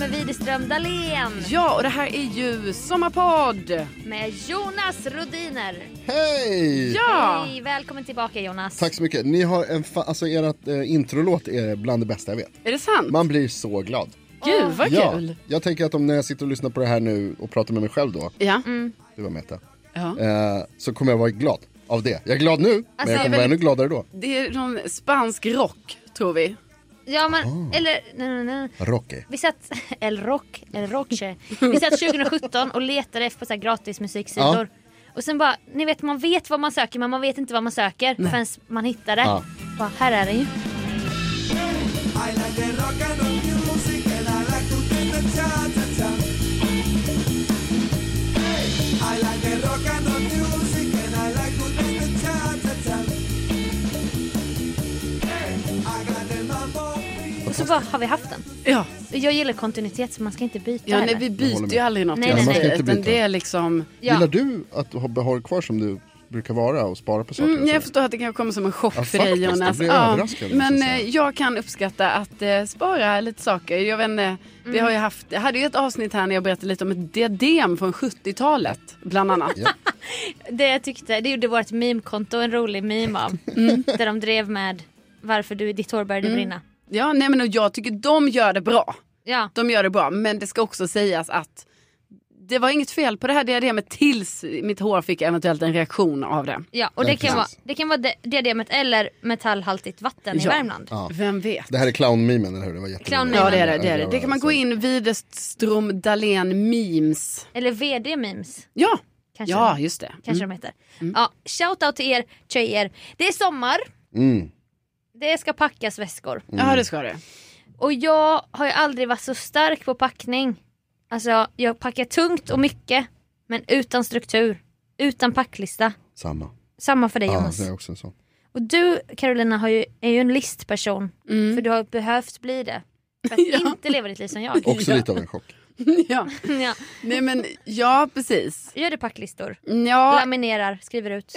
med Widerström Dahlén. Ja, och det här är ju Sommarpodd! Med Jonas Rodiner. Hej! Ja! Hej, välkommen tillbaka Jonas. Tack så mycket. Ni har en fa- alltså ert eh, introlåt är bland det bästa jag vet. Är det sant? Man blir så glad. Gud, vad ja, kul! jag tänker att om när jag sitter och lyssnar på det här nu och pratar med mig själv då, Ja. Mm. du var Meta, ja. eh, så kommer jag vara glad av det. Jag är glad nu, Alltså, men jag det är kommer väl- vara ännu gladare då. Det är någon spansk rock, tror vi. Ja men, Ah. eller nej, nej, nej. Rocky. Vi satt, El Rock, El Roche. Vi satt 2017 och letade efter så här gratis musiksidor. Och sen bara, ni vet man vet vad man söker men man vet inte vad man söker förrän man hittar det. Ja. Bara, här är den ju. Och så bara, har vi haft den? Ja, Jag gillar kontinuitet så man ska inte byta ja nej, heller. vi Jag byter håller ju med. aldrig något. Nej, nej, just nej. nu, Man ska inte Utan byta. det är liksom... ja. Gillar du att ha behåll kvar som du brukar vara och spara på saker? Mm, och jag så? förstår att det kanske kommer som en chock Ja, för dig faktiskt. Jag Jonas. blev överraskad, måste Men jag säga. eh, jag kan uppskatta att eh, spara lite saker. Jag, vet, inte, vi Mm. har ju haft, jag hade ju ett avsnitt här när jag berättade lite om ett diadem från 70-talet bland annat. Det jag tyckte, det gjorde vårt meme-konto en rolig meme av. Mm. Där de drev med varför du, ditt hår började brinna. Ja, nej, men och jag tycker de gör det bra. Ja, De gör det bra, men det ska också sägas att det var inget fel på det här diademet tills mitt hår fick eventuellt en reaktion av det. ja. och Ja, det kan, vara, precis. det kan vara di- diademet eller metallhaltigt vatten i Ja. Värmland. Ja. Vem vet? Det här är clownmimen, eller hur? Det var jätteroligt. Clownmimen. Ja det är det, det är det. Det kan man alltså. gå in, Widerström Dahlén memes. Eller VD-memes Ja, kanske, ja just det. kanske Mm. de heter. Ja, shoutout till er tjejer. Det är sommar, Mm. det ska packas väskor. Ja det ska det. Och jag har ju aldrig varit så stark på packning. Alltså jag packar tungt och mycket men utan struktur, utan packlista. Samma. Samma för dig Ja, Jonas. det är också en sån. Och du Carolina har ju, är ju en listperson. För du har behövt bli det. För att inte leva ditt liv som jag. Också Ja. lite av en chock. Ja. ja. Nej men ja precis. Gör du packlistor? Ja, Laminerar, skriver ut.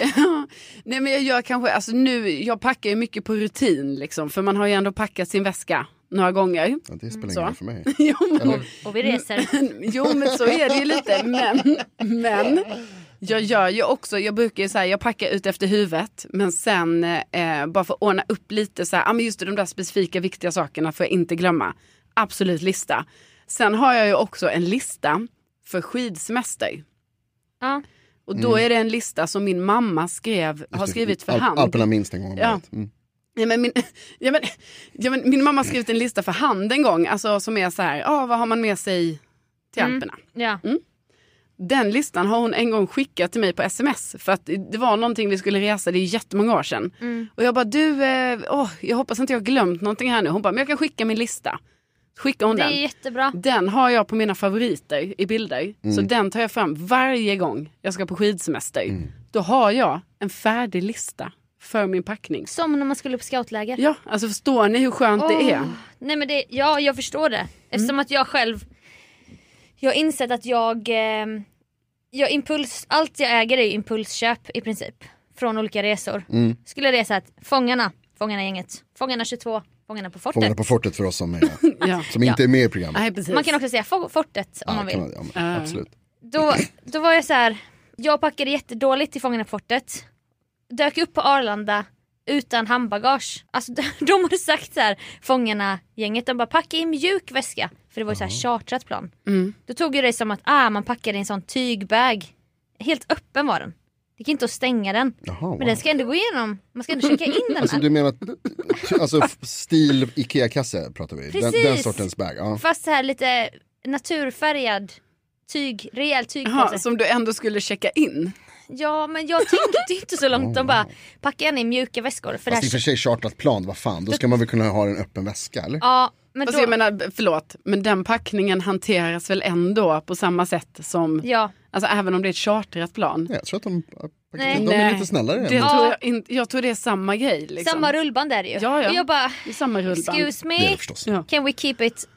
nej men jag gör kanske, alltså nu, jag packar ju mycket på rutin liksom för man har ju ändå packat sin väska några gånger. Ja, det spelar Så. ingen roll för mig. Jo men, Eller? Och vi reser. jo men så är det ju lite, men, men jag gör ju också, jag brukar ju så här, jag packar ut efter huvudet men sen eh, bara för att ordna upp lite så här, ja men just det, de där specifika viktiga sakerna får jag inte glömma. Absolut lista. Sen har jag ju också en lista för skidsemester. Ja. Och då är det en lista som min mamma skrev, har skrivit för Al- hand. Typ Alperna minst en gång om Ja. året. Mm. Ja, men min, ja, men, ja, men min mamma har skrivit en lista för hand en gång, alltså, som är så här, ah, vad har man med sig till Alperna? ja. Den listan har hon en gång skickat till mig på sms för att det var någonting vi skulle resa, det är jättemånga år sedan. Mm. Och jag bara, du, eh, åh, jag hoppas inte jag har glömt någonting här nu. Hon bara, men jag kan skicka min lista. Skickar hon Det är den. jättebra. Den har jag på mina favoriter i bilder. Så den tar jag fram varje gång jag ska på skidsemester. Då har jag en färdig lista för min packning. Som när man skulle på scoutläger. Ja, alltså förstår ni hur skönt det är? Åh, Nej men det, ja jag förstår det. Eftersom att jag själv, jag har insett att jag, eh, jag impuls, allt jag äger är ju impulsköp i princip. Från olika resor. Skulle jag resa att Fångarna, Fångarna-gänget, Fångarna 22, Fångarna på fortet. Fångarna på fortet för oss som, är, Ja. som inte är med i programmet. Nej, precis. Man kan också säga Fo- fortet om Ja, man vill. kan man- ja, men, Absolut. Då, då var jag så här. jag packade jättedåligt till Fångarna på fortet. Dök upp på Arlanda utan handbagage. Alltså de- de hade sagt så här, Fångarna-gänget, de bara packa i mjuk väska. För det var ju så här chartrat plan. Då tog ju det som att ah, man packade i en sån tygbag. Helt öppen var den. Det gick inte att stänga den. Jaha, wow. Men den ska ändå gå igenom, man ska ändå checka in den. Alltså du menar att- alltså, f- stil Ikea-kasse pratar vi. Den, Precis. den sortens bag. Ja. Fast så här lite naturfärgad tyg, rejäl tygpåse. Jaha, som du ändå skulle checka in. Ja men jag tänkte inte så långt. De bara packar in i mjuka väskor. För det Fast i och för här... sig chartrat plan, vad fan. Då ska man väl kunna ha en öppen väska eller? Ja men Alltså, jag då... menar, förlåt, men den packningen hanteras väl ändå på samma sätt som, Ja. alltså även om det är ett chartrat plan. Nej, jag tror att de, äh, Nej. de är Nej. lite snällare. Det än- tror jag, inte, jag tror det är samma grej. Liksom. Samma rullband är det ju. Ja, ja. Och jag bara Det är samma rullband. excuse Det är me det förstås. Ja. can we keep it.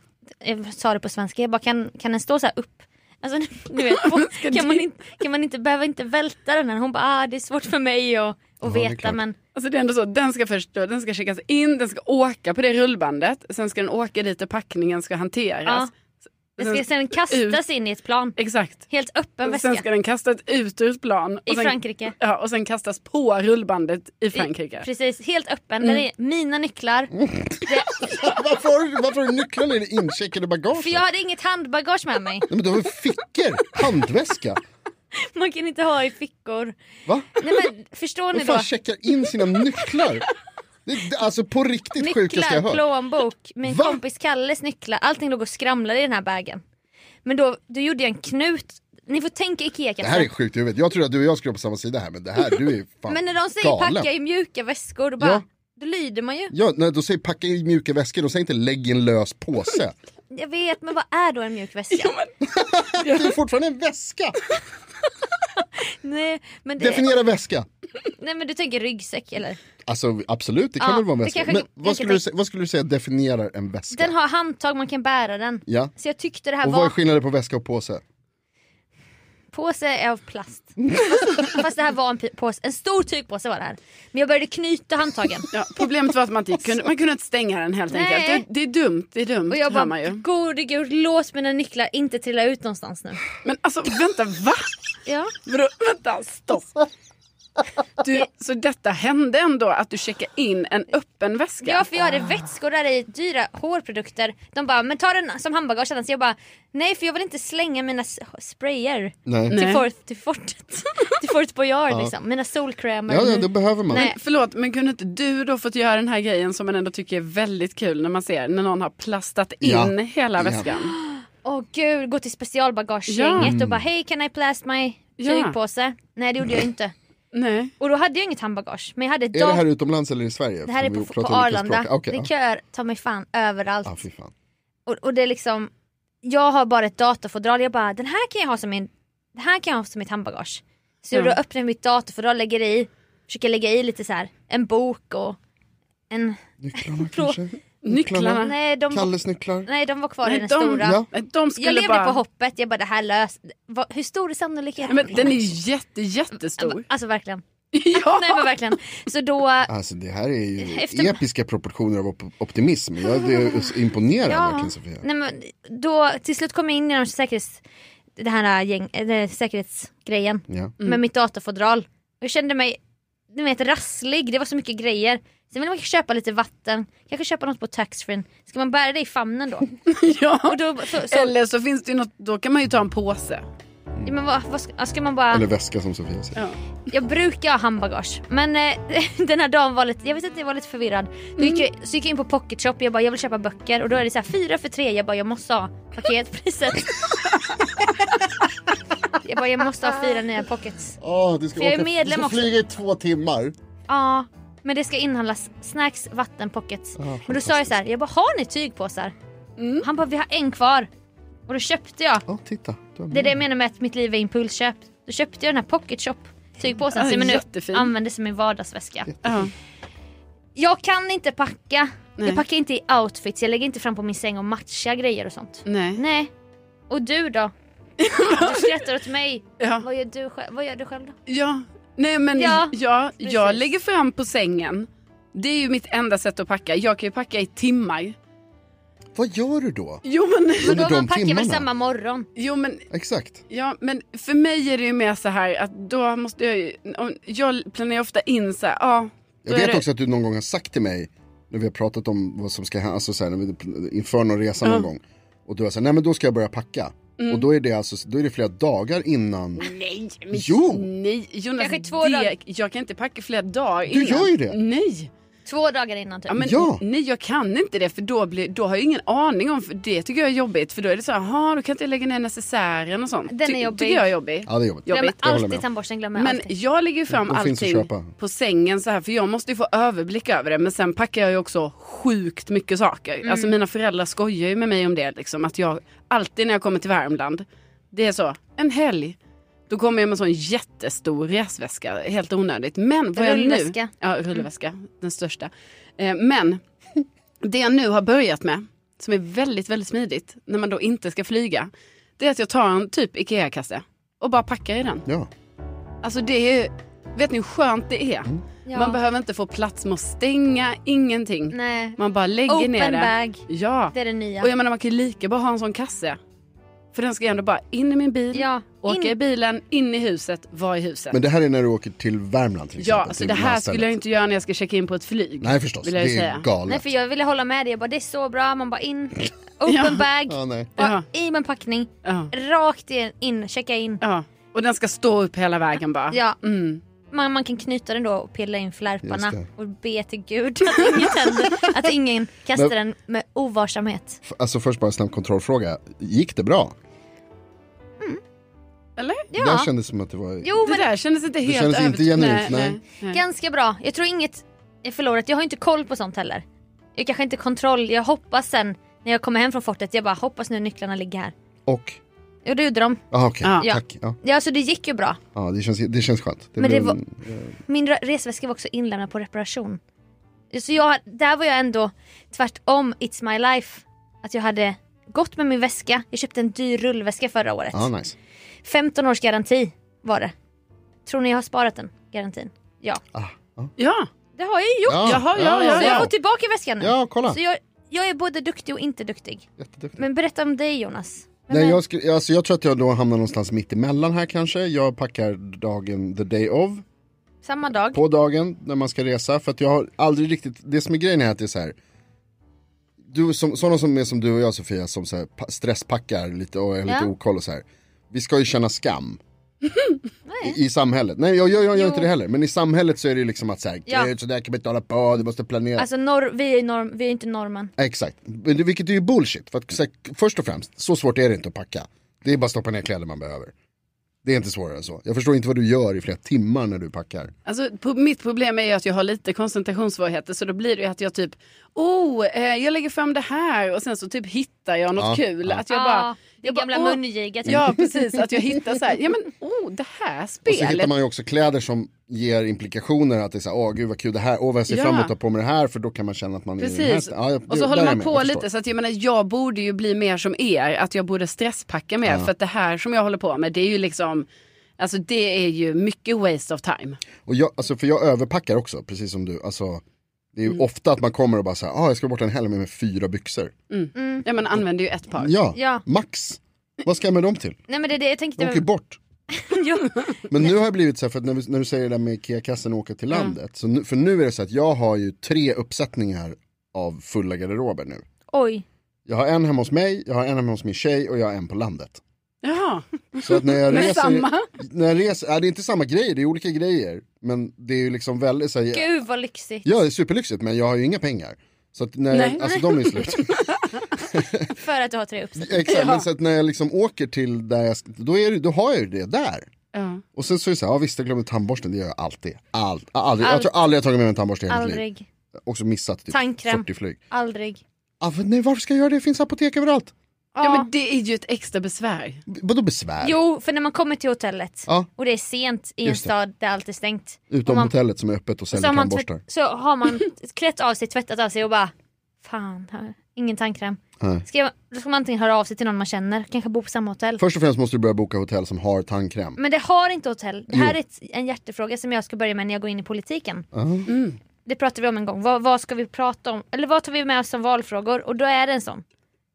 Jag sa det på svenska. Jag bara kan, kan den stå så här upp. Alltså ni vet, på, kan, man inte, kan man inte behöva inte välta den här? Hon bara ah, det är svårt för mig att, att det är veta klart. men Alltså det är ändå så, den ska först då, den ska checkas in, den ska åka på det rullbandet, sen ska den åka dit där packningen ska hanteras. Det ska sedan kastas in i ett plan. Exakt. Helt öppen Och sen väska. ska den kastas ut ur ett plan. och I sen, Frankrike. Ja, och sen kastas på rullbandet i Frankrike. Mm. Precis, helt öppen. Den är mina nycklar. Varför, har du- varför har du nycklarna i det incheckade bagaget? För jag hade inget handbagage med mig. Nej, men du har ju fickor, handväska. Man kan inte ha i fickor. Va? Nej men förstår ni Vem då? fan checkar in sina nycklar? Det, det, alltså på riktigt sjukaste Nycklar, jag hört. plånbok, min Va? kompis Kalles nycklar. Allting låg och skramlade i den här bagen. Men då, då gjorde jag en knut. Ni får tänka ikea Det här är kanske. sjukt i huvudet. Jag tror att du och jag skulle vara på samma sida här men det här, du är fan Men när de säger galen. packa i mjuka väskor, då, bara, Ja. då lyder man ju. Ja, när de säger packa i mjuka väskor, de säger inte lägg i en lös påse. Jag vet, men vad är då en mjuk väska? Det är fortfarande en väska! nej, men det, Definiera väska. nej men du tänker ryggsäck eller? Alltså absolut, det kan Ja, väl vara en det väska. kanske- Men jag vad kan skulle, du, tänka- sä- vad skulle du säga definierar en väska? Den har handtag, man kan bära den. Ja. Så jag tyckte det här Och vad är var... skillnaden på väska och påse? Påse är av plast. fast, fast det här var en pi- påse, en stor tygpåse var det här. Men jag började knyta handtagen. Ja, problemet var att man inte kunde, man kunde inte stänga den helt Nej. enkelt. Det, det är dumt, det är dumt Och jag hör man bara, ju. gode gud låt mina nycklar inte trilla ut någonstans nu. Men alltså vänta, va? Ja. Vadå, vänta, stopp. Du, så detta hände ändå att du checkade in en öppen väska? ja, för jag hade vätskor där i, dyra hårprodukter. De bara, men ta den som handbagage annars. Jag bara, nej för jag vill inte slänga mina s- sprayer Nej. till Nej. Fort, till fortet. till Fort Boyard liksom. Mina solkrämer. Ja, ja, det behöver man. Nej. Förlåt, men kunde inte du då fått göra den här grejen som man ändå tycker är väldigt kul när man ser när någon har plastat in Ja. hela Ja. väskan? Åh gud, gå till specialbagagegänget Mm. och bara, hej can I plast my Ja. tygpåse? Nej det gjorde jag inte. Nej. Och då hade jag inget handbagage. Men jag hade Är det dag- här utomlands eller i Sverige? Det här är Eftersom på, vi på pratar olika Arlanda. språk. Okej, Det är köer ta mig fan överallt. ja. Ah, fy fan. Och, och det är liksom, jag har bara ett datorfodral. Jag bara, den här kan jag ha som min, den här kan jag ha som mitt handbagage. Så Mm. då öppnar jag mitt datorfodral, lägger i, försöker lägga i lite så här, en bok och en, Nycklarna Förlåt. kanske? Nycklarna. nej de, Kalles nycklar? nej de var kvar i Nej, den de, stora. Ja. nej, de skulle Jag levde bara... på hoppet, jag bara det här lös. Va, hur stor är sannolikheten? Men den är jätte, jättestor. Alltså verkligen. Ja. Nej men verkligen. Så då, Alltså det här är ju Efter- episka proportioner av op- optimism. Jag det är imponerad Ja. verkligen Sofia. Nej, men då, till slut kom jag in i de säkerhets, det här äh, gäng, eller säkerhetsgrejen Ja. med mitt datorfodral. Jag kände mig du vet, rasslig, det var så mycket grejer. Sen ville man kanske köpa lite vatten, kanske köpa något på taxfree. Ska man bära det i famnen då? ja. Och då så, så, Eller så finns det ju något, då kan man ju ta en påse. ja, men vad, vad ska, ska man bara... Eller väska som Sofia säger. Ja. Jag brukar ha handbagage men eh, den här dagen var lite, jag vet inte jag var lite förvirrad. Då gick jag, så gick jag in på pocket shop jag bara jag vill köpa böcker och då är det så här fyra för tre jag bara jag måste ha paketpriset. jag bara jag måste ha fyra nya pockets. Åh, du ska För jag är åka- medlem du ska också. flyga i två timmar. Ja men det ska inhandlas snacks, vatten, pockets. men då sa jag så här jag bara har ni tygpåsar? Mm. Han bara vi har en kvar. Och då köpte jag. Ja, titta. Du har Det är det med. jag menar med att mitt liv är impulsköp. Då köpte jag den här pocket shop tygpåsen Ja, som jag nu jättefin. använder som min vardagsväska. Ja. Jag kan inte packa. Nej. Jag packar inte i outfits, jag lägger inte fram på min säng och matchar grejer och sånt. Nej. Nej. Och du då? Du skrattar åt mig. Ja. Vad gör du själv, vad gör du själv då? Ja, nej men Ja, ja, ja, jag precis. lägger fram på sängen. Det är ju mitt enda sätt att packa. Jag kan ju packa i timmar. Vad gör du då? Jo men, Men då Under man de packar väl timmarna? samma morgon? jo men, Exakt. ja, men för mig är det ju mer så här att då måste jag ju, om- jag planerar ju ofta in så här, ja. då Jag är vet det- också att du någon gång har sagt till mig när vi har pratat om vad som ska hända, alltså så här, när vi, inför någon resa någon gång. Och du har sagt, nej men då ska jag börja packa. Mm. Och då är, det alltså, då är det flera dagar innan. Nej, men Jo. nej Jonas, Kanske två dagar. det, jag kan inte packa flera dagar Du gör ju det. Nej. Två dagar innan typ. Ja, men, Ja. Nej, jag kan inte det för då, blir, då har jag ingen aning om, för det tycker jag är jobbigt. För då är det så här, "Jaha, då kan inte jag lägga ner necessären och sånt. Den är jobbig. Tycker jag är jobbig. Ja det är jobbigt. Ja, Glöm jobbigt, jag håller alltid med. tandborsten, glömmer Men alltid. jag lägger ju fram De finns att allting köpa. på sängen så här för jag måste ju få överblick över det. Men sen packar jag ju också sjukt mycket saker. Alltså mina föräldrar skojar ju med mig om det liksom. Att jag alltid när jag kommer till Värmland, det är så, en helg. Då kommer jag med en sån jättestor resväska, helt onödigt. Men vad jag nu... Rullväska. Ja, rullväska. Den största. Eh, men det jag nu har börjat med, som är väldigt, väldigt smidigt, när man då inte ska flyga, det är att jag tar en typ IKEA-kasse och bara packar i den. Ja. Alltså det är ju, vet ni hur skönt det är? Mm. Ja. Man behöver inte få plats med att stänga, ingenting. Nej. Man bara lägger Open ner det. bag. Ja. Det är det nya. Och jag menar man kan ju lika bra ha en sån kasse. För den ska ju ändå bara in i min bil, Ja, åka in- i bilen, in i huset, vara i huset. Men det här är när du åker till Värmland till ja, exempel. alltså till det här landstället. skulle jag inte göra när jag ska checka in på ett flyg. Nej förstås, vill det jag ju är säga. galet. Nej för jag ville hålla med dig, jag bara det är så bra, man bara in, open bag, Ja, nej. bara Ja. i med en packning, Ja. rakt in, in checka in. ja. Och den ska stå upp hela vägen bara. Ja, Mm. man, man kan knyta den då och pilla in flärparna Just och be till gud att inget händer, att ingen kastar den med ovarsamhet. F- Alltså först bara en snabb kontrollfråga. Gick det bra? Eller? Ja, Det här kändes som att det var... jo Det men där kändes inte helt kändes inte övertygande. genuint, nej. ganska bra. Jag tror inget är förlorat, jag har inte koll på sånt heller. Jag kanske inte kontroll, jag hoppas sen när jag kommer hem från fortet, jag bara hoppas nu nycklarna ligger här. Och? Jo det gjorde de. Jaha okej, Ja. tack. Ja. Ja så det gick ju bra. Ja, det, känns, det känns skönt. Men det blev var- en- Min re- resväska var också inlämnad på reparation. Så jag, där var jag ändå tvärtom It's My Life. Att jag hade gått med min väska. Jag köpte en dyr rullväska förra året. Ja, nice. 15 års garanti var det. Tror ni jag har sparat den garantin? Ja, Ah, ja. Ja. det har jag ju gjort. Jaha, ja, ja, Så jag wow. får tillbaka väskan nu. Ja, kolla. Så jag, jag är både duktig och inte duktig. Jätteduktig. Men berätta om dig Jonas. Vem Nej, är- jag, skulle, alltså, jag tror att jag då hamnar någonstans mitt emellan här kanske. Jag packar dagen the day of. Samma dag. På dagen när man ska resa. För att jag har aldrig riktigt, det som är grejen är att det är så här. Du, som, sådana som är som du och jag Sofia som så här, pa- stresspackar lite och är lite Ja. okoll och så här. Vi ska ju känna skam. I, I samhället. Nej jag, jag, jag gör Jo. inte det heller. Men i samhället så är det ju liksom att så här, Ja. "Gud, så där kan man inte hålla på, du måste planera. Alltså norr, vi, är norm, vi är inte norrmän. Exakt, Men det- vilket är ju bullshit. För att, så här, först och främst, så svårt är det inte att packa. Det är bara att stoppa ner kläder man behöver. Det är inte svårare än så. Jag förstår inte vad du gör i flera timmar när du packar. Alltså, på, mitt problem är ju att jag har lite koncentrationssvårigheter så då blir det ju att jag typ, oh, eh, jag lägger fram det här och sen så typ hittar jag något Ja, kul. ja. Att jag bara, ah, det jag bara, gamla åh. mungiget. ja precis, att jag hittar så här, ja men oh, det här Och så hittar spelet. man ju också kläder som ger implikationer att det är så här, åh gud vad kul det här, åh vad jag ser Ja. fram emot att ha på mig det här för då kan man känna att man är den här Precis, st- Ja, jag- och det- så håller där är jag man med. på Jag förstår. lite så att jag menar jag borde ju bli mer som er, att jag borde stresspacka mer för att det här som jag håller på med det är ju liksom, alltså det är ju mycket waste of time. Och jag, alltså, för jag överpackar också, precis som du. Alltså, det är Mm. ju ofta att man kommer och bara så här, ah, jag ska bort en helg med, med fyra byxor. Ja man använder ju ett par. Ja, Ja. max. Vad ska jag med dem till? Nej men det är det jag tänkte. De åker bort. Jo. Men nu har jag blivit så här, för att när, vi, när du säger det där med IKEA-kassen och åka till landet. Så nu, för nu är det så att jag har ju tre uppsättningar av fulla garderober nu. Oj. Jag har en hemma hos mig, jag har en hemma hos min tjej och jag har en på landet. Jaha, Så att när jag men reser, samma. När jag reser, ja, det är inte samma grejer, det är olika grejer. Men det är ju liksom väldigt så här, Gud vad lyxigt. ja det är superlyxigt men jag har ju inga pengar. Så att när jag, Nej. alltså de är slut. För att du har tre uppsättningar. Exakt, men så att när jag liksom åker till där jag, ska- då, är det, då har jag ju det där. Ja. Och sen så är det så här, ja visst jag glömde tandborsten, det gör jag alltid. Allt, aldrig, jag tror aldrig jag har tagit med mig en tandborste i hela mitt liv. Aldrig. Också missat typ Tandkräm. 40 flyg. Aldrig. Ah, för, nej varför ska jag göra det, det finns apotek överallt. Ja. Ja men det är ju ett extra besvär. B- Vadå besvär? Jo, för när man kommer till hotellet Ja. och det är sent i en Just det. stad där allt är stängt. Utom Om man- hotellet som är öppet och Så säljer har, man tandborstar. tvätt, så har man klätt av sig, tvättat av sig och bara Fan, här, ingen tandkräm. Nej. Ska jag, då ska man antingen höra av sig till någon man känner, kanske bo på samma hotell. Först och främst måste du börja boka hotell som har tandkräm. Men det har inte hotell. Det här Jo. är ett, en hjärtefråga som jag ska börja med när jag går in i politiken. Ah. Det pratar vi om en gång. Vad, vad ska vi prata om? Eller vad tar vi med oss som valfrågor? Och då är det en sån.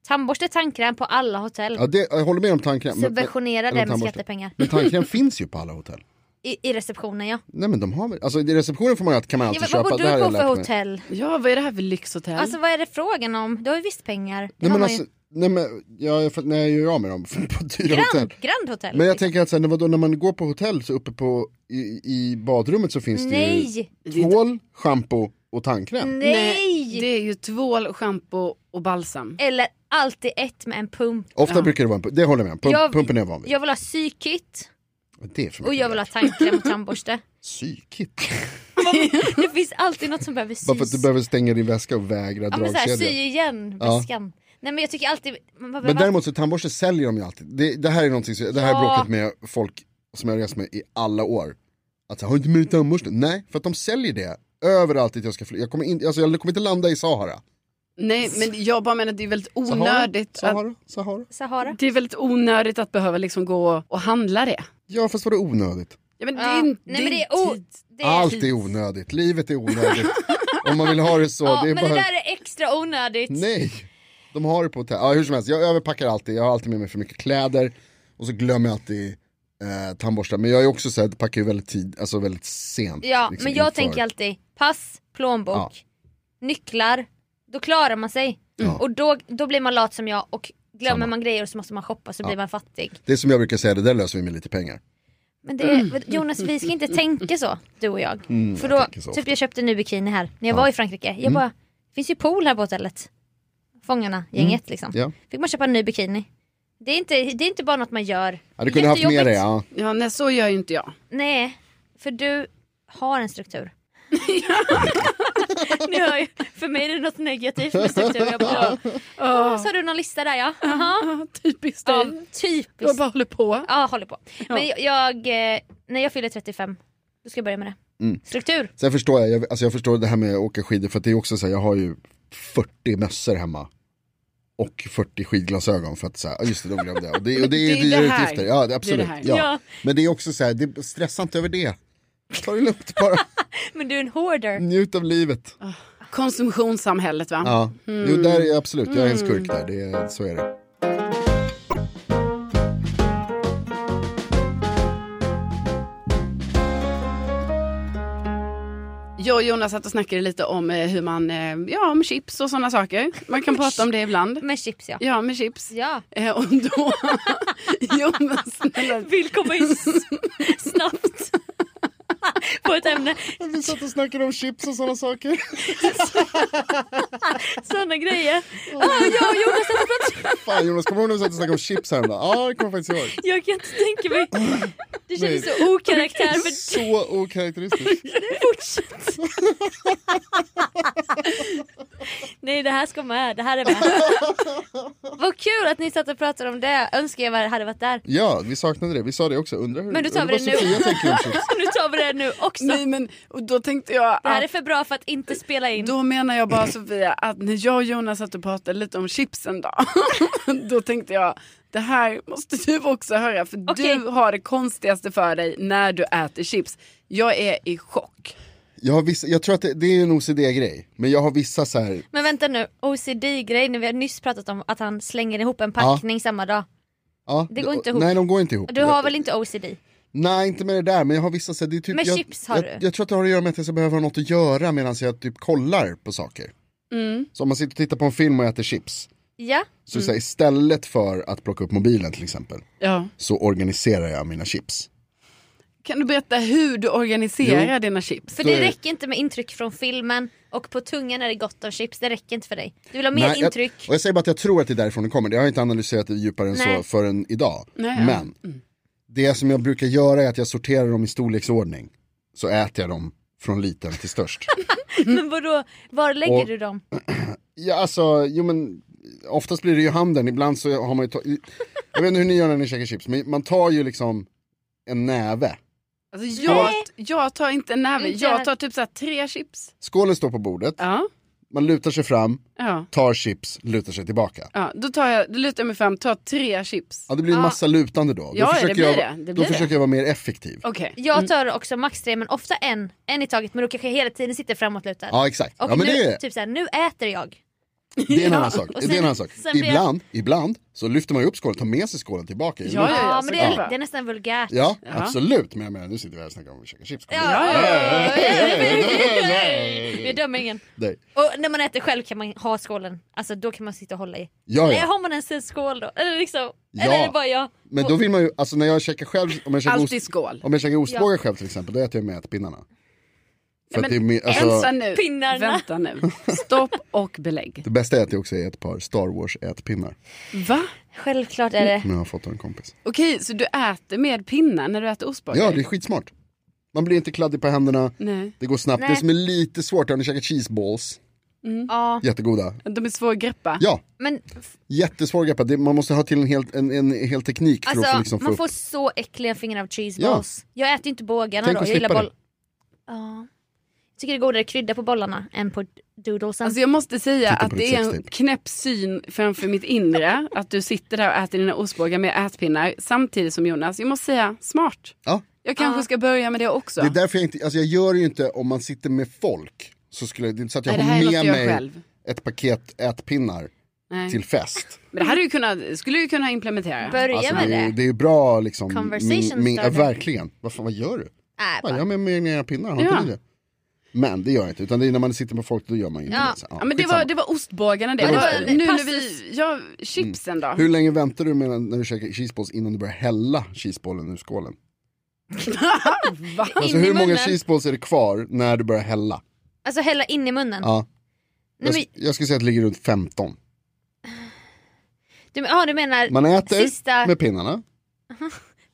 Tandborste, tandkräm på alla hotell. Ja, det, jag håller med om tandkräm. men- Subventionera det men- men med tandborste. skattepengar. Men tandkräm finns ju på alla hotell. I, i receptionen ja. Nej men de har väl, alltså i receptionen får man ju att kan man alltid ja köpa. vad bor det här har du på jag för lärt mig. hotell? Ja vad är det här för lyxhotell? Alltså vad är det frågan om? Du har ju visst pengar. Det Nej har men man alltså, ju. nej men jag, jag, nej, jag gör av med dem på dyra hotell. Grand, Grand Hotel. Men jag liksom. tänker att sen, vadå, när man går på hotell så uppe på, i, i badrummet så finns det Nej! Mm. ju tvål, schampo och tandkräm. Nej! Det är ju tvål, schampo och balsam. Eller alltid ett med en pump. Ofta brukar det vara en pump, det håller jag med om, pump, Jag- pumpen är jag van vid. Jag vill ha psykit det är för och mycket jag vill ha begärt. tandkräm och tandborste. Psykigt. det finns alltid något som behöver sys. Bara för att du behöver stänga din väska och vägra ja, men så här, sy dragkedjan. igen Ja. väskan. Nej men jag tycker alltid... Man behöver... Men däremot så tandborste säljer de ju alltid. Det, det här är någonting som, det här har jag Ja. bråkat med folk som jag har rest med i alla år. Att så här, har du inte med dig tandborste? Nej, för att de säljer det överallt dit jag ska flyga. Jag kommer, in, alltså, jag kommer inte landa i Sahara. Nej men jag bara menar att det är väldigt Sahara, onödigt. Att, Sahara, Sahara. Sahara. det är väldigt onödigt att behöva liksom gå och handla det. Ja fast var det onödigt? Ja, men det Ja. är, Nej inte- men det är... inte- O... Det är... Allt är onödigt, livet är onödigt. Om man vill ha det så. Ja, det är men bara... det där är extra onödigt. Nej. De har det på hotell. Ja, hur som helst, jag överpackar alltid. Jag har alltid med mig för mycket kläder. Och så glömmer jag alltid eh, tandborstar. Men jag är också så här, packar ju väldigt, tid, alltså väldigt sent. Ja, liksom, men jag inför. tänker alltid pass, plånbok, Ja. nycklar. Då klarar man sig. Ja. Och då, då blir man lat som jag och glömmer Samma. man grejer så måste man shoppa så blir man fattig. Det är som jag brukar säga, det där löser vi med lite pengar. Men det är, Jonas vi ska inte tänka så du och jag. För då, Mm. tänker så Mm. typ jag köpte en ny bikini här när jag var i Frankrike. Jag bara, det finns ju pool här på hotellet. Fångarna, gänget liksom. Mm. Ja. Fick man köpa en ny bikini. Det är inte, det är inte bara något man gör. Ja, du kunde haft med Jättejobbigt. dig, ja. Ja, nej så gör ju inte jag. Nej, för du har en struktur. Ni hör ju, för mig är det något negativt med struktur. Jag bara, "Åh, så har du någon lista där ja. Aha. Ja, typiskt Ja, dig. Du typiskt. bara håller på. Ja, håller på. Men jag, jag, eh, när jag fyller 35, då ska jag börja med det. Struktur. Sen förstår jag, jag, alltså jag förstår det här med att åka skidor för att det är också så här, jag har ju 40 mössor hemma. Och 40 skidglasögon för att säga, just det, de glömde jag. Och det, och det är Det är ju dyra det här. utgifter. Ja, det, absolut. här. ja. Ja. Men det är också så här, det, stressa inte över det. Ta det lugnt bara, Men du är en hoarder. njut av livet. Konsumtionssamhället va? Ja, jo, där är jag absolut, jag är en skurk där, det, är- så är det. Jag och Jonas satt och snackade lite om eh, hur man, eh, ja om chips och sådana saker. Man kan prata om det ibland. Med chips ja. Ja, med chips. Ja. Eh, och då... jo men snälla. Vill komma in s- snabbt. På ett ämne. Vi satt och snackade om chips och sådana saker. Sådana grejer. Ah, jag och Jonas satt och pratade- Fan Jonas, kommer du ihåg när vi satt och snackade om chips häromdagen? Ja, det kommer jag faktiskt ihåg. Jag kan inte tänka mig. Det kändes så okaraktär för Så okaraktäristiskt. fortsätt. Nej det här ska med. Det här är med. Vad kul att ni satt och pratade om det. Önskar jag hade varit där. Ja, vi saknade det. Vi sa det också. Undrar hur... Men då tar vi vad det nu. Sofia tänker om chips. Nu tar vi det nu också. Nej men, och då tänkte jag Det här att är för bra för att inte spela in. Då menar jag bara Sofia att när jag och Jonas satt och pratade lite om chips en dag. då tänkte jag det här måste du också höra för Okej. du har det konstigaste för dig när du äter chips. Jag är i chock. Jag, har vissa, jag tror att det, det är en OCD-grej. Men jag har vissa så här... Men vänta nu, OCD-grej, när vi har nyss pratat om att han slänger ihop en packning samma dag. Ja, Det går inte ihop. Nej, de går inte ihop. Du har väl inte OCD? Nej, inte med det där. Men jag har vissa så här, det är typ, Med jag, chips har jag, du. Jag tror att det har att göra med att jag ska behöva ha något att göra medan jag typ kollar på saker. Mm. Så om man sitter och tittar på en film och äter chips. Ja, Så, så här, istället för att plocka upp mobilen till exempel. Ja. Så organiserar jag mina chips. Kan du berätta hur du organiserar dina chips? för Så är det det. räcker inte med intryck från filmen och på tungan är det gott av chips, det räcker inte för dig. Du vill ha mer Nej, intryck. Jag, och jag säger bara att jag tror att det är därifrån det kommer. Jag har inte analyserat det djupare än Nej. så förrän idag. Nej, ja. Mm. Men det som jag brukar göra är att jag sorterar dem i storleksordning. Så äter jag dem från liten till störst. Men vadå, var lägger Och- du dem? ja, alltså, jo men oftast blir det ju handen. Ibland så har man ju... Ta- jag vet inte hur ni gör när ni käkar chips, men man tar ju liksom en näve. Alltså, jag, Nej. jag tar inte en näve, Inte jag jag. tar typ så här tre chips. Skålen står på bordet, Ja. man lutar sig fram, Ja. tar chips, lutar sig tillbaka. Ja, då tar jag, då lutar jag mig fram, tar tre chips. Ja, det blir en massa lutande då. Ja, då det försöker, blir jag, det. Det blir då det. försöker jag vara mer effektiv. Okej. Mm. Jag tar också max tre men ofta en, en i taget men då kanske jag hela tiden sitter framåtlutad. Ja, exakt. och ja, men nu, det är... typ såhär, nu äter jag. Det är en annan sak. och det sen- är en annan sak. sen blir jag- Ibland, ibland så lyfter man ju upp skålen, tar med sig skålen tillbaka. i Ja, Ja, munnen. ja, men det såklart. är, det är nästan vulgärt. ja, absolut. Men jag menar, nu sitter vi här och snackar om att käka chips. Kom igen. Ja, Ja, ja, Vi dömer ingen. Nej. Och när man äter själv kan man ha skålen, alltså då kan man sitta och hålla i. Ja, Eller ja. har man ens en skål då? Eller liksom, Ja. eller är det bara jag? Men då vill man ju, alltså när jag käkar själv, om jag käkar, Alltid ost, skål. om jag käkar ostbågar själv till exempel, då äter jag med ätpinnarna. För att det, är, mer- Vänta alltså, nu. Pinnarna. Vänta nu. Stopp och belägg. det bästa är att jag också är ett par Star Wars ätpinnar. Va? Självklart är det. Som jag har fått av en kompis. Okej, så du äter med pinnar när du äter ostbågar? Ja, det är skitsmart. Man blir inte kladdig på händerna, Nej, det går snabbt. Nej. Det som är lite svårt är om ni käkar cheeseballs, Mm. Ja, jättegoda. de är svåra att greppa. Ja, men Jättesvår greppa, det, man måste ha till en hel, en, en hel teknik för att alltså få liksom få man upp. får så äckliga fingrar av cheeseballs. Jag äter ju inte bågarna Tänk då, att jag gillar slippa det. boll. Ja. Jag tycker det är godare krydda på bollarna än på doodlesen. Alltså jag måste säga Titta på att ditt det är en sextape. knäpp syn framför mitt inre att du sitter där och äter dina ostbågar med ätpinnar samtidigt som Jonas. Jag måste säga, smart. Ja. Jag kanske Ja. ska börja med det också. Det är därför jag inte, alltså jag gör det ju inte om man sitter med folk. Så skulle, jag- det är inte så att jag Nej, det här har är något med jag gör mig själv. ett paket ätpinnar Nej. till fest. Men det hade ju kunnat, skulle ju kunna implementera. Börja Alltså, med det, är, det. det är bra liksom. Conversation Min, min, ja, starter. verkligen. Vad, fan, vad gör du? Nej, Fan, bara- jag har med mig egna pinnar, har inte Ja. ni det? Men det gör jag inte, utan det är när man sitter med folk då gör man ju inte Ja. det. Så, Ja, men det, var, skitsamma. det var ostbågarna det. Ja, det var Och en nu när passus. vi, ja, chipsen då. Hur länge väntar du med när du käkar cheeseballs innan du börjar hälla cheesebollen ur skålen? Va? Alltså in i hur många munnen. cheeseballs är det kvar när du börjar hälla? Alltså hälla in i munnen. Ja. alltså- Nej, Jag, men, sk- jag skulle säga att det ligger runt 15. du, men- ja, du menar, Man äter Sista- med pinnarna.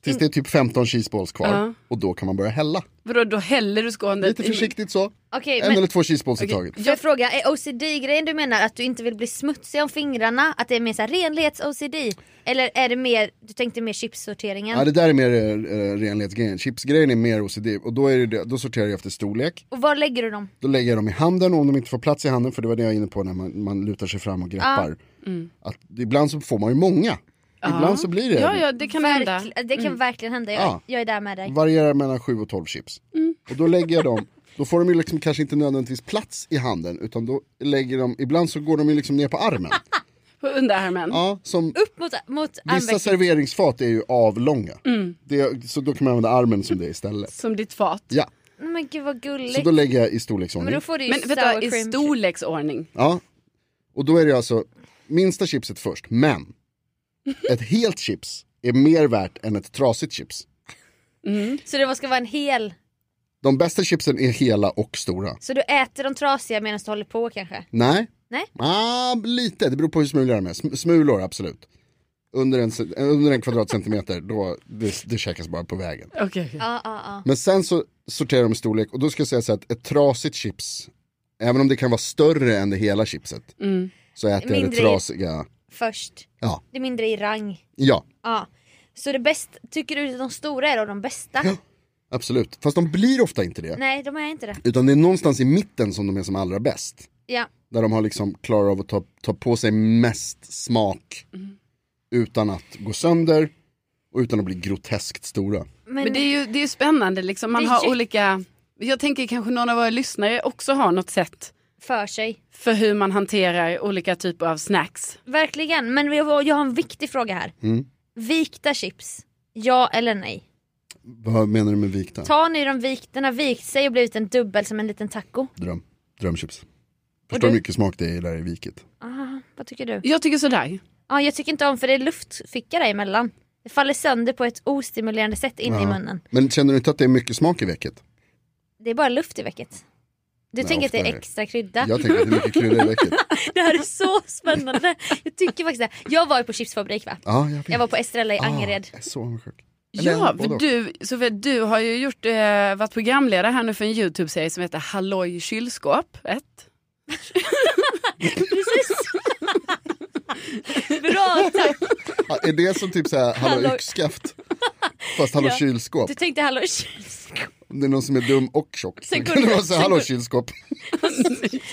Tills det är typ 15 cheeseballs kvar Ja. och då kan man börja hälla. Vadå, då häller du skålen Lite försiktigt så, okej en men eller två cheeseballs i taget. jag frågar, är OCD-grejen du menar att du inte vill bli smutsig om fingrarna? Att det är mer så här renlighets-OCD? Eller är det mer, du tänkte mer chipssorteringen? Ja, det där är mer eh, renlighetsgrejen, chipsgrejen är mer OCD och då, är det det, då sorterar jag efter storlek. Och var lägger du dem? Då lägger jag dem i handen och om de inte får plats i handen, för det var det jag var inne på när man, man lutar sig fram och greppar. Att ibland så får man ju många, ibland så blir det Ja, ja, det kan hända. Verkl- det kan verkligen hända, jag, Mm. Ja. jag är där med dig. varierar mellan 7 och 12 chips. Och då lägger jag dem, då får de ju liksom kanske inte nödvändigtvis plats i handen utan då lägger de, ibland så går de ju liksom ner på armen. På underarmen. Ja, som Upp mot, mot vissa armvecket. serveringsfat är ju avlånga. Det, så då kan man använda armen som det istället. Som ditt fat. Ja, Nej, Men gud vad gulligt. så då lägger jag i men storleksordning. då får du ju Men sour vänta, i cream. storleksordning. Ja, och då är det alltså minsta chipset först, men ett helt chips är mer värt än ett trasigt chips. Så det ska vara en hel. De bästa chipsen är hela och stora. Så du äter de trasiga medan du håller på kanske? Nej. Nej. Ah, lite, det beror på hur smulor de är. Sm- Smulor, absolut. Under en, ce- under en kvadratcentimeter, då, det, det käkas bara på vägen. Okej. Ja, ja, ja. Men sen så sorterar de i storlek och då ska jag säga så här att ett trasigt chips, även om det kan vara större än det hela chipset, Mm. så äter jag det Mindre i- trasiga. Först. Ja, Det är mindre i rang. ja, Ja. Så det bästa, tycker du att de stora är då de bästa? absolut. Fast de blir ofta inte det. Nej, de är inte det. Utan det är någonstans i mitten som de är som allra bäst. Ja. Där de har liksom klarat av att ta, ta på sig mest smak Mm. utan att gå sönder och utan att bli groteskt stora. Men, Men det är ju det är ju spännande liksom. Man Det är har jätte- olika. Jag tänker kanske någon av våra lyssnare också har något sätt för sig. för hur man hanterar olika typer av snacks. Verkligen. Men jag, jag har en viktig fråga här. Vikta chips. Ja eller nej? Vad menar du med vikta? Tar ni de vikt, den har vikt sig och blivit en dubbel som en liten taco? Dröm. Drömchips. Förstår hur du? mycket smak det är där i viket. Aha, Ah, vad tycker du? Jag tycker sådär. Ja, jag tycker inte om för det är luftficka däremellan. Det faller sönder på ett ostimulerande sätt in i Ja. munnen. Men känner du inte att det är mycket smak i veket? Det är bara luft i vecket. Du Nej, tänker att det ofta är är det. extra krydda. Jag tänker att det är mycket krydda i veket. Det här är så spännande. Jag tycker faktiskt det. Jag var ju på chipsfabrik va? Ja, jag vet. Jag var på Estrella i Angered. Ah, jag är så avundsjuk. Eller, Ja, både för och. du, Sofia, du har ju gjort, eh, varit programledare här nu för en YouTube-serie som heter Halloj kylskåp. Ett. Bra tack! Ah, är det som typ såhär hallå Hallå. yxskaft? Fast hallå Ja. kylskåp. Du tänkte hallå kylskåp. Om det är någon som är dum och tjock. Sen Sen går kan det du- vara såhär sen hallå går- kylskåp.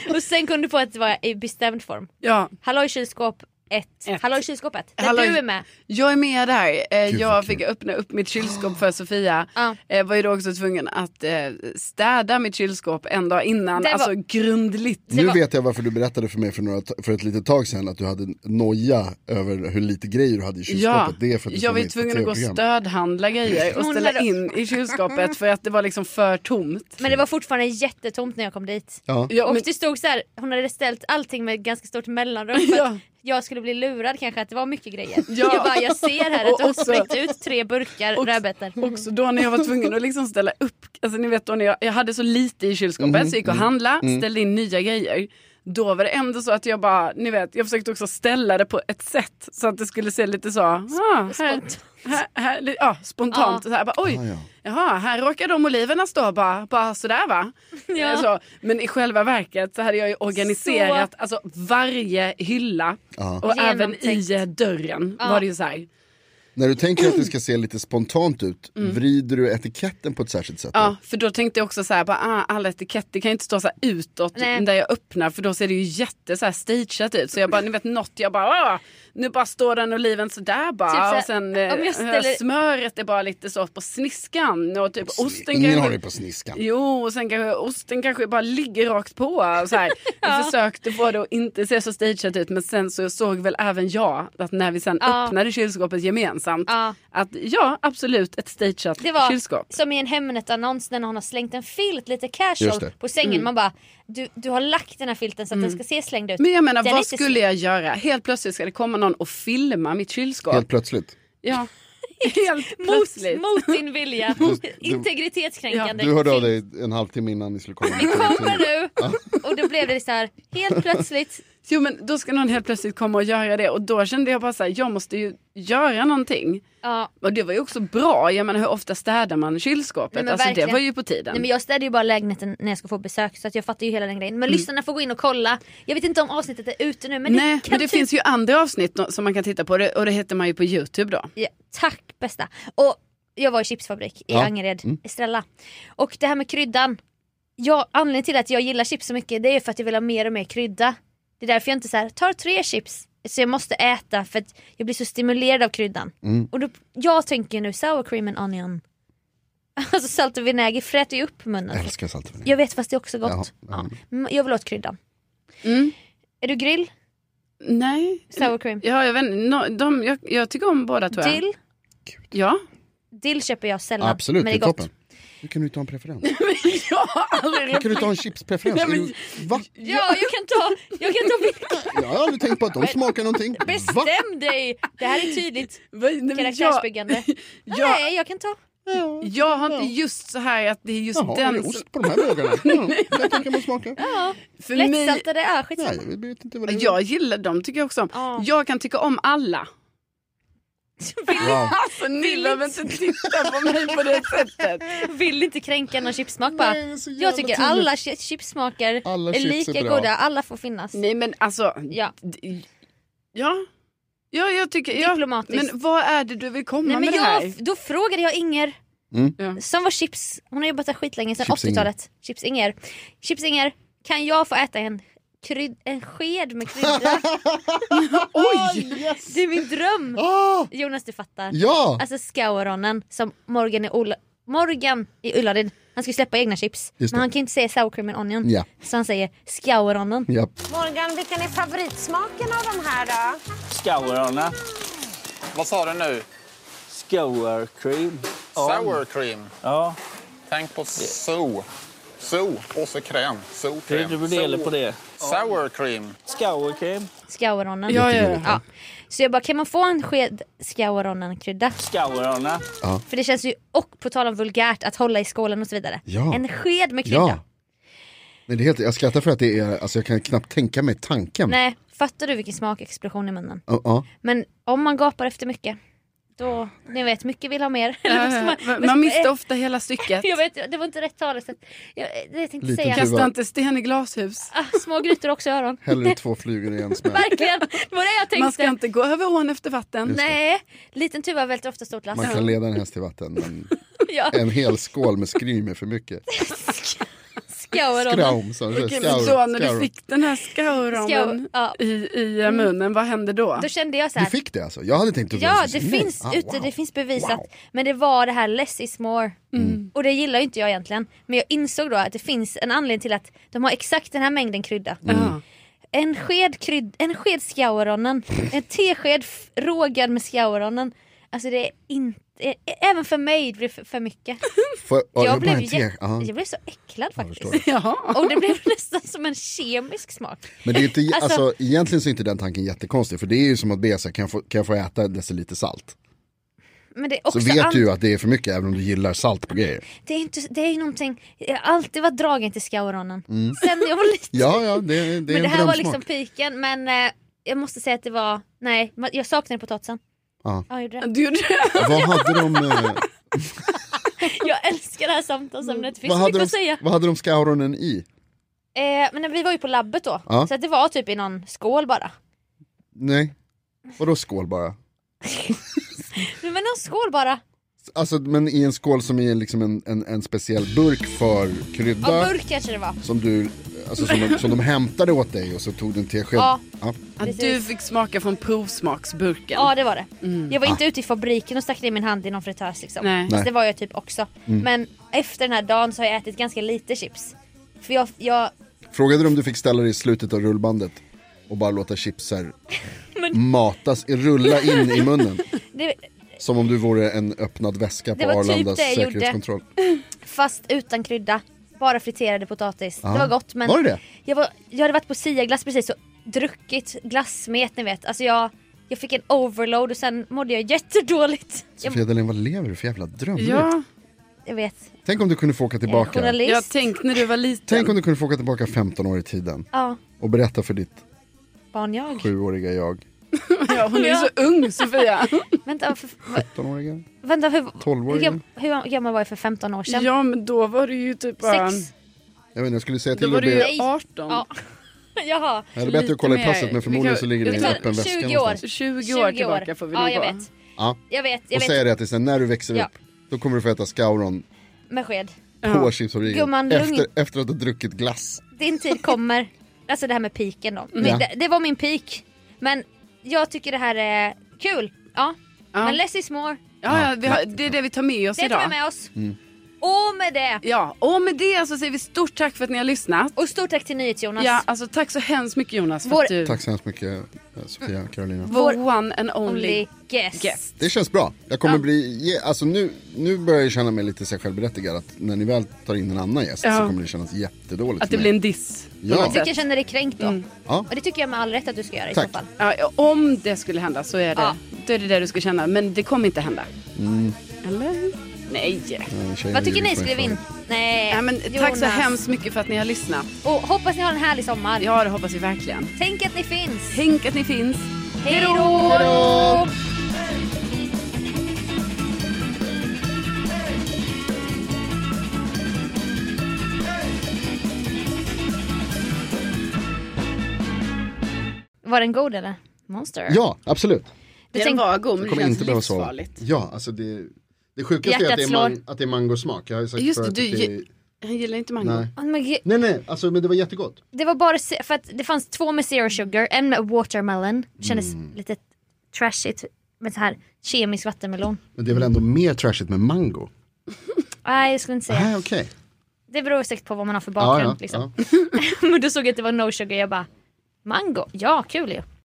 Och sen kom du på att det var i bestämd form. Ja, Hallå kylskåp 1. Ett. Hallå kylskåpet. Där Hallå- du är med. jag är med där. Eh, Gud, vad jag kul. fick öppna upp mitt kylskåp för Sofia. Ja. Eh, var ju då också tvungen att eh, städa mitt kylskåp en dag innan. Det var- Alltså grundligt. Nu var- vet jag varför du berättade för mig för, några, för ett litet tag sedan att du hade noja över hur lite grejer du hade i kylskåpet. Ja, det är för att du jag var ju såg mig tvungen på att gå och TV-program. stödhandla grejer och Hon ställa hade- in i kylskåpet för att det var liksom för tomt. Men det var fortfarande jättetomt när jag kom dit. Ja. Ja, och men, det stod så här, hon hade ställt allting med ganska stort mellanrum för Ja. att jag skulle bli lurad kanske att det var mycket grejer. Ja. Jag bara, jag ser här att du Och har också- släckt ut tre burkar också- rödbetor. också då när jag var tvungen att liksom ställa upp, alltså ni vet då när jag, jag hade så lite i kylskåpet Mm, så jag gick och handla, ställde in nya grejer. Då var det ändå så att jag bara, ni vet, jag försökte också ställa det på ett sätt så att det skulle se lite så, ah, här, här, här, li- ja, spontant. Så här, bara, oj, Ah, ja. jaha, här råkar de oliverna stå bara, bara sådär va? Ja. Eh, Så, men i själva verket så hade jag ju organiserat alltså, varje hylla och även Genomtänkt. i eh, dörren var det ju så här. När du tänker att det ska se lite spontant ut, Mm. vrider du etiketten på ett särskilt sätt? då? Ja, Mm. för då tänkte jag också så här, bara, ah, alla etiketter kan ju inte stå så här utåt Nej. där jag öppnar för då ser det ju jätte så här stageat ut. Så jag bara, ni vet något, jag bara, ah, nu bara står den oliven sådär bara. Typ så här, och sen om jag eh, ställer- smöret är bara lite så på sniskan och typ osten Ingen kanske- har det på sniskan. Jo, och sen kanske osten kanske bara ligger rakt på. Så här. Jag försökte få det att inte se så stageat ut men sen så såg väl även jag att när vi sen Ja. öppnade kylskåpet gemensamt Ja. att ja, absolut ett stageat Det var kylskåp. som i en Hemnet-annons när någon har slängt en filt lite Just casual det. på sängen. Mm. Man bara, du, du har lagt den här filten så att den ska se slängd ut. Men jag menar, Den är vad inte skulle jag göra? Helt plötsligt ska det komma någon och filma mitt kylskåp. Helt plötsligt. Ja. Helt plötsligt. Mot, mot din vilja. Du- Integritetskränkande. Du hörde av film. dig en halvtimme innan ni skulle komma. Vi kommer nu! Och då blev det så här helt plötsligt. Jo, men då ska någon helt plötsligt komma och göra det och då kände jag bara så här, jag måste ju göra någonting. Ja. Och det var ju också bra, jag menar hur ofta städar man kylskåpet? Nej, men alltså det verkligen. var ju på tiden. Nej, men jag städar ju bara lägenheten när jag ska få besök så att jag fattar ju hela den Mm. grejen. Men lyssnarna får gå in och kolla. Jag vet inte om avsnittet är ute nu men Nej, det kan men det typ... finns ju andra avsnitt då- som man kan titta på det- och det heter man ju på Youtube då. Ja, tack bästa. Och jag var i chipsfabrik i Ja. Angered, Mm. Estrella. Och det här med kryddan. Jag, anledningen till att jag gillar chips så mycket det är för att jag vill ha mer och mer krydda. Det är därför jag inte så här, tar tre chips så jag måste äta för att jag blir så stimulerad av kryddan. Mm. Och då, jag tänker nu sour cream and onion. Alltså salt och vinäger fräter ju upp munnen. Jag älskar salt och vinäger. Jag vet fast det är också gott. Jaha, Ja. Mm, Jag vill åt kryddan. Mm. Är du grill? Nej, Sour cream? ja, jag, vet, inte. no, de, jag, jag tycker om båda tror jag. Dill? Ja. Dill köper jag sällan. Absolut, men det det är är gott. toppen. Hur kan du inte ha en preferens? jag har aldrig Hur kan du inte ha en chipspreferens? Nej, Är men- du- Va? Ja, jag kan ta, jag kan ta Jag har aldrig tänkt på att de smakar någonting. Va? Bestäm dig! Det här är tydligt Vad- nej, men karaktärsbyggande. jag, jag, Nej, jag kan ta. Ja. jag har inte just så här att det är just Jaha, är den det som- ost på de här bågarna? Ja, jag tänker man smaka. för mig, Lättsaltade, ja skitsamma. Nej, jag vet inte vad det är. Jag gillar dem, tycker jag också om. Ja. Jag kan tycka om alla. Wow. Alltså ni behöver inte titta på mig på det sättet. Vill inte kränka någon chipssmak bara. Nej, det är så jävla Jag tycker tydligt. alla chi- chipssmaker Alla är chips är lika bra. goda, alla får finnas. Nej men alltså, Ja. d- ja. Ja, jag tycker... Ja. Diplomatiskt. Men vad är det du vill komma Nej, men med det jag, här? då frågade jag Inger Mm. Ja. som var chips, hon har jobbat där skitlänge sedan Chips Inger. 80-talet. Chips Inger. chips Inger, kan jag få äta en, kryd, en sked med krydda? Oj! Yes. det är min dröm! Ah, Jonas du fattar. ja, Alltså Scauronen som Morgan i, Ola- Morgan i Ullared, han ska ju släppa egna chips. Just det. Men han kan ju inte säga sour cream and onion. Ja. Så han säger Scauronen. ja. Morgan, vilken är favoritsmaken av de här då? Scourarna. Vad sa du nu? Scour cream. Sour cream. Ja, Tänk på so. So och så kräm. So det är kräm. du delar So. på det. Sour cream. Scour cream. Scauronen. Ja, ja, ja. Ja. Så jag bara, kan man få en sked Scauronen-krydda? Scourarna. För det känns ju, och på tal om vulgärt, att hålla i skålen och så vidare. Ja. En sked med krydda. ja. Nej, det är helt, jag skrattar för att det är, alltså jag kan knappt tänka mig tanken. Nej, fattar du vilken smakexplosion i munnen? Ja, ja. Men om man gapar efter mycket, då, ni vet, mycket vill ha mer. Eller vad ska Man, vad ska- man missar ofta hela stycket. Jag vet, det var inte rätt talesätt. Jag, det jag tänkte Liten säga. tuva. Kasta inte sten i glashus. Ah, små grytor också i öron. Hellre två flugor i en smäll. Verkligen, det var det jag tänkte. Man ska inte gå över ån efter vatten. Nej, liten tuva välter ofta stort lass. Man kan leda en häst till vatten, men Ja, en hel skål med skrym är för mycket. skauronen. Skraum, sa du. Okej, men Skaur, då när skaur. du fick den här Skaur, skauromen ja. Mm. i, i eh, munnen, vad hände då? Då kände jag så Du här. fick det alltså? Jag hade tänkt att Ja, var så- det nej. finns, Ah, ute, wow. det finns bevisat. Wow. Mm. Men det var det här less is more. Och det gillar ju inte jag egentligen. Men jag insåg då att det finns en anledning till att de har exakt den här mängden krydda. Mm. Ja. En sked, krydd, en sked scauronen, en tesked f- rågad med scauronen. Alltså det är inte, ä- även för mig det blev för, för mycket. Får, ja, det jag, var bara blev en te. jä- Ja. jag blev så äcklad faktiskt. förstår. Jaha. Och det blev nästan som en kemisk smak. Men det är inte, alltså, Alltså- egentligen så är inte den tanken jättekonstig för det är ju som att be så här, kan jag få, kan jag få äta en deciliter salt? Men det är också Så vet an- du ju att det är för mycket även om du gillar salt på grejer. det är inte, det är ju någonting, jag har alltid varit dragen till scauronen. Mm. Sen jag var liten. Ja, ja, det, det är men en det här var drömsmak. liksom piken men eh, jag måste säga att det var, nej ma- jag saknade potatisen. Ja. jag gjorde det. Du gjorde det? liksom- Vad hade de, eh, Jag älskar det här samtalsämnet, det finns vad så hade mycket de, att säga. vad hade de skauronen i? Eh, men vi var ju på labbet då, Ja. så att det var typ i någon skål bara. Nej, vadå skål bara? Men skål bara. Alltså men i en skål som är liksom en, en, en speciell burk för Ja, krydda. burk kanske det var. Som du, alltså som de, som de hämtade åt dig och så tog du en tesked. Ja. Ja. Att du fick smaka från provsmaksburken. Ja det var det. Jag var Ah. inte ute i fabriken och stack ner min hand i någon fritös liksom. Nej. Fast det var jag typ också. Mm. Men efter den här dagen så har jag ätit ganska lite chips. För jag, jag Frågade du om du fick ställa dig i slutet av rullbandet och bara låta chipsar matas, rulla in i munnen. det, Som om du vore en öppnad väska på Det var typ Arlandas det jag gjorde. säkerhetskontroll. fast utan krydda. Bara friterade potatis. Ja. Det var gott men Var det det? Jag, var, jag hade varit på Siaglass precis och druckit glassmet ni vet. Alltså jag, jag fick en overload och sen mådde jag jättedåligt. Jag, Sofia Dalén, vad lever du för jävla drömmar? Ja, jag vet. Tänk om du kunde få åka Jag är tillbaka. journalist. jag tänkte när du var liten. Tänk om du kunde få åka tillbaka 15 år i tiden Ja, och berätta för ditt barn jag. sjuåriga jag. ja, hon är ju så ung Sofia. Vänta, för, va- 15-åriga? vänta hur, hur, 12-åriga? gam- hur gammal var jag för 15 år sedan? Ja men då var du ju typ bara... Sex? Jag vet inte, jag skulle säga Då till var att du be... ju 18. Ja. Jaha. Ja, Det är bättre att kolla i lite passet mer. men Vi förmodligen kan- så ligger det i en Ungefär öppen väska 20 år. någonstans. 20, 20 år tillbaka får vi Ja, nog jag vara. vet. Ja. Jag vet, jag Och vet. säga det till sen när du växer Ja. upp, då kommer du få äta Scauron Med sked. på Ja. chipsfabriken Gumman, lugn. efter, efter att ha druckit glass. Din tid kommer. Alltså det här med piken då. Mm. Men Ja. det, det var min pik. Men jag tycker det här är kul. Ja. Ja. Men less is more. Ja, ja, vi har, det är det vi tar med oss Det tar vi idag. med oss. Mm. Och med det. Ja, och med det så säger vi stort tack för att ni har lyssnat. Och stort tack till NyhetsJonas. Ja, alltså tack så hemskt mycket Jonas för Vår- att du Tack så hemskt mycket eh, Sofia och Carolina. vår Vår one and only Only guest. guest. Det känns bra. Jag kommer bli, ge- alltså nu, nu börjar jag känna mig lite så här självberättigad att när ni väl tar in en annan gäst Ja. så kommer det kännas jättedåligt Att det för blir mig. en diss. på Ja. något Jag sätt. tycker jag känner dig kränkt då. Mm. Ja. Och det tycker jag med all rätt att du ska göra i Tack. så fall. Ja, om det skulle hända så är det, Ja. då är det det du ska känna. Men det kommer inte hända. Mm. Eller? Nej. Eh, tjejer Vad tycker ljuger ni? på Skriv in. inför. Nej. Ja, men, tack Jonas. så hemskt mycket för att ni har lyssnat. Och hoppas ni har en härlig sommar. Ja, det hoppas vi verkligen. Tänk att ni finns. Tänk att ni finns. Hej då! Var den god eller? Monster? Ja, absolut. Du den tänk- var god, men Jag det kommer känns inte behöva sova. livsfarligt. Ja, alltså det, det sjukaste är att det är, Hjärtat man, att det är mangosmak. Jag har ju sagt Just det, förut du, att det är... gi- han gillar inte mango. Nej. Åh, men gud. Nej, nej, alltså men det var jättegott. Det var bara se- för att det fanns två med zero sugar, en med watermelon. Kändes Mm. lite trashigt med så här kemisk vattenmelon. Men det är väl ändå mer trashigt med mango? Nej jag skulle inte säga. Nej, okej. Det beror säkert på vad man har för Ja, liksom. bakgrund. ja, liksom. ja. Men då såg jag att det var no sugar jag bara Mango, ja kul ju.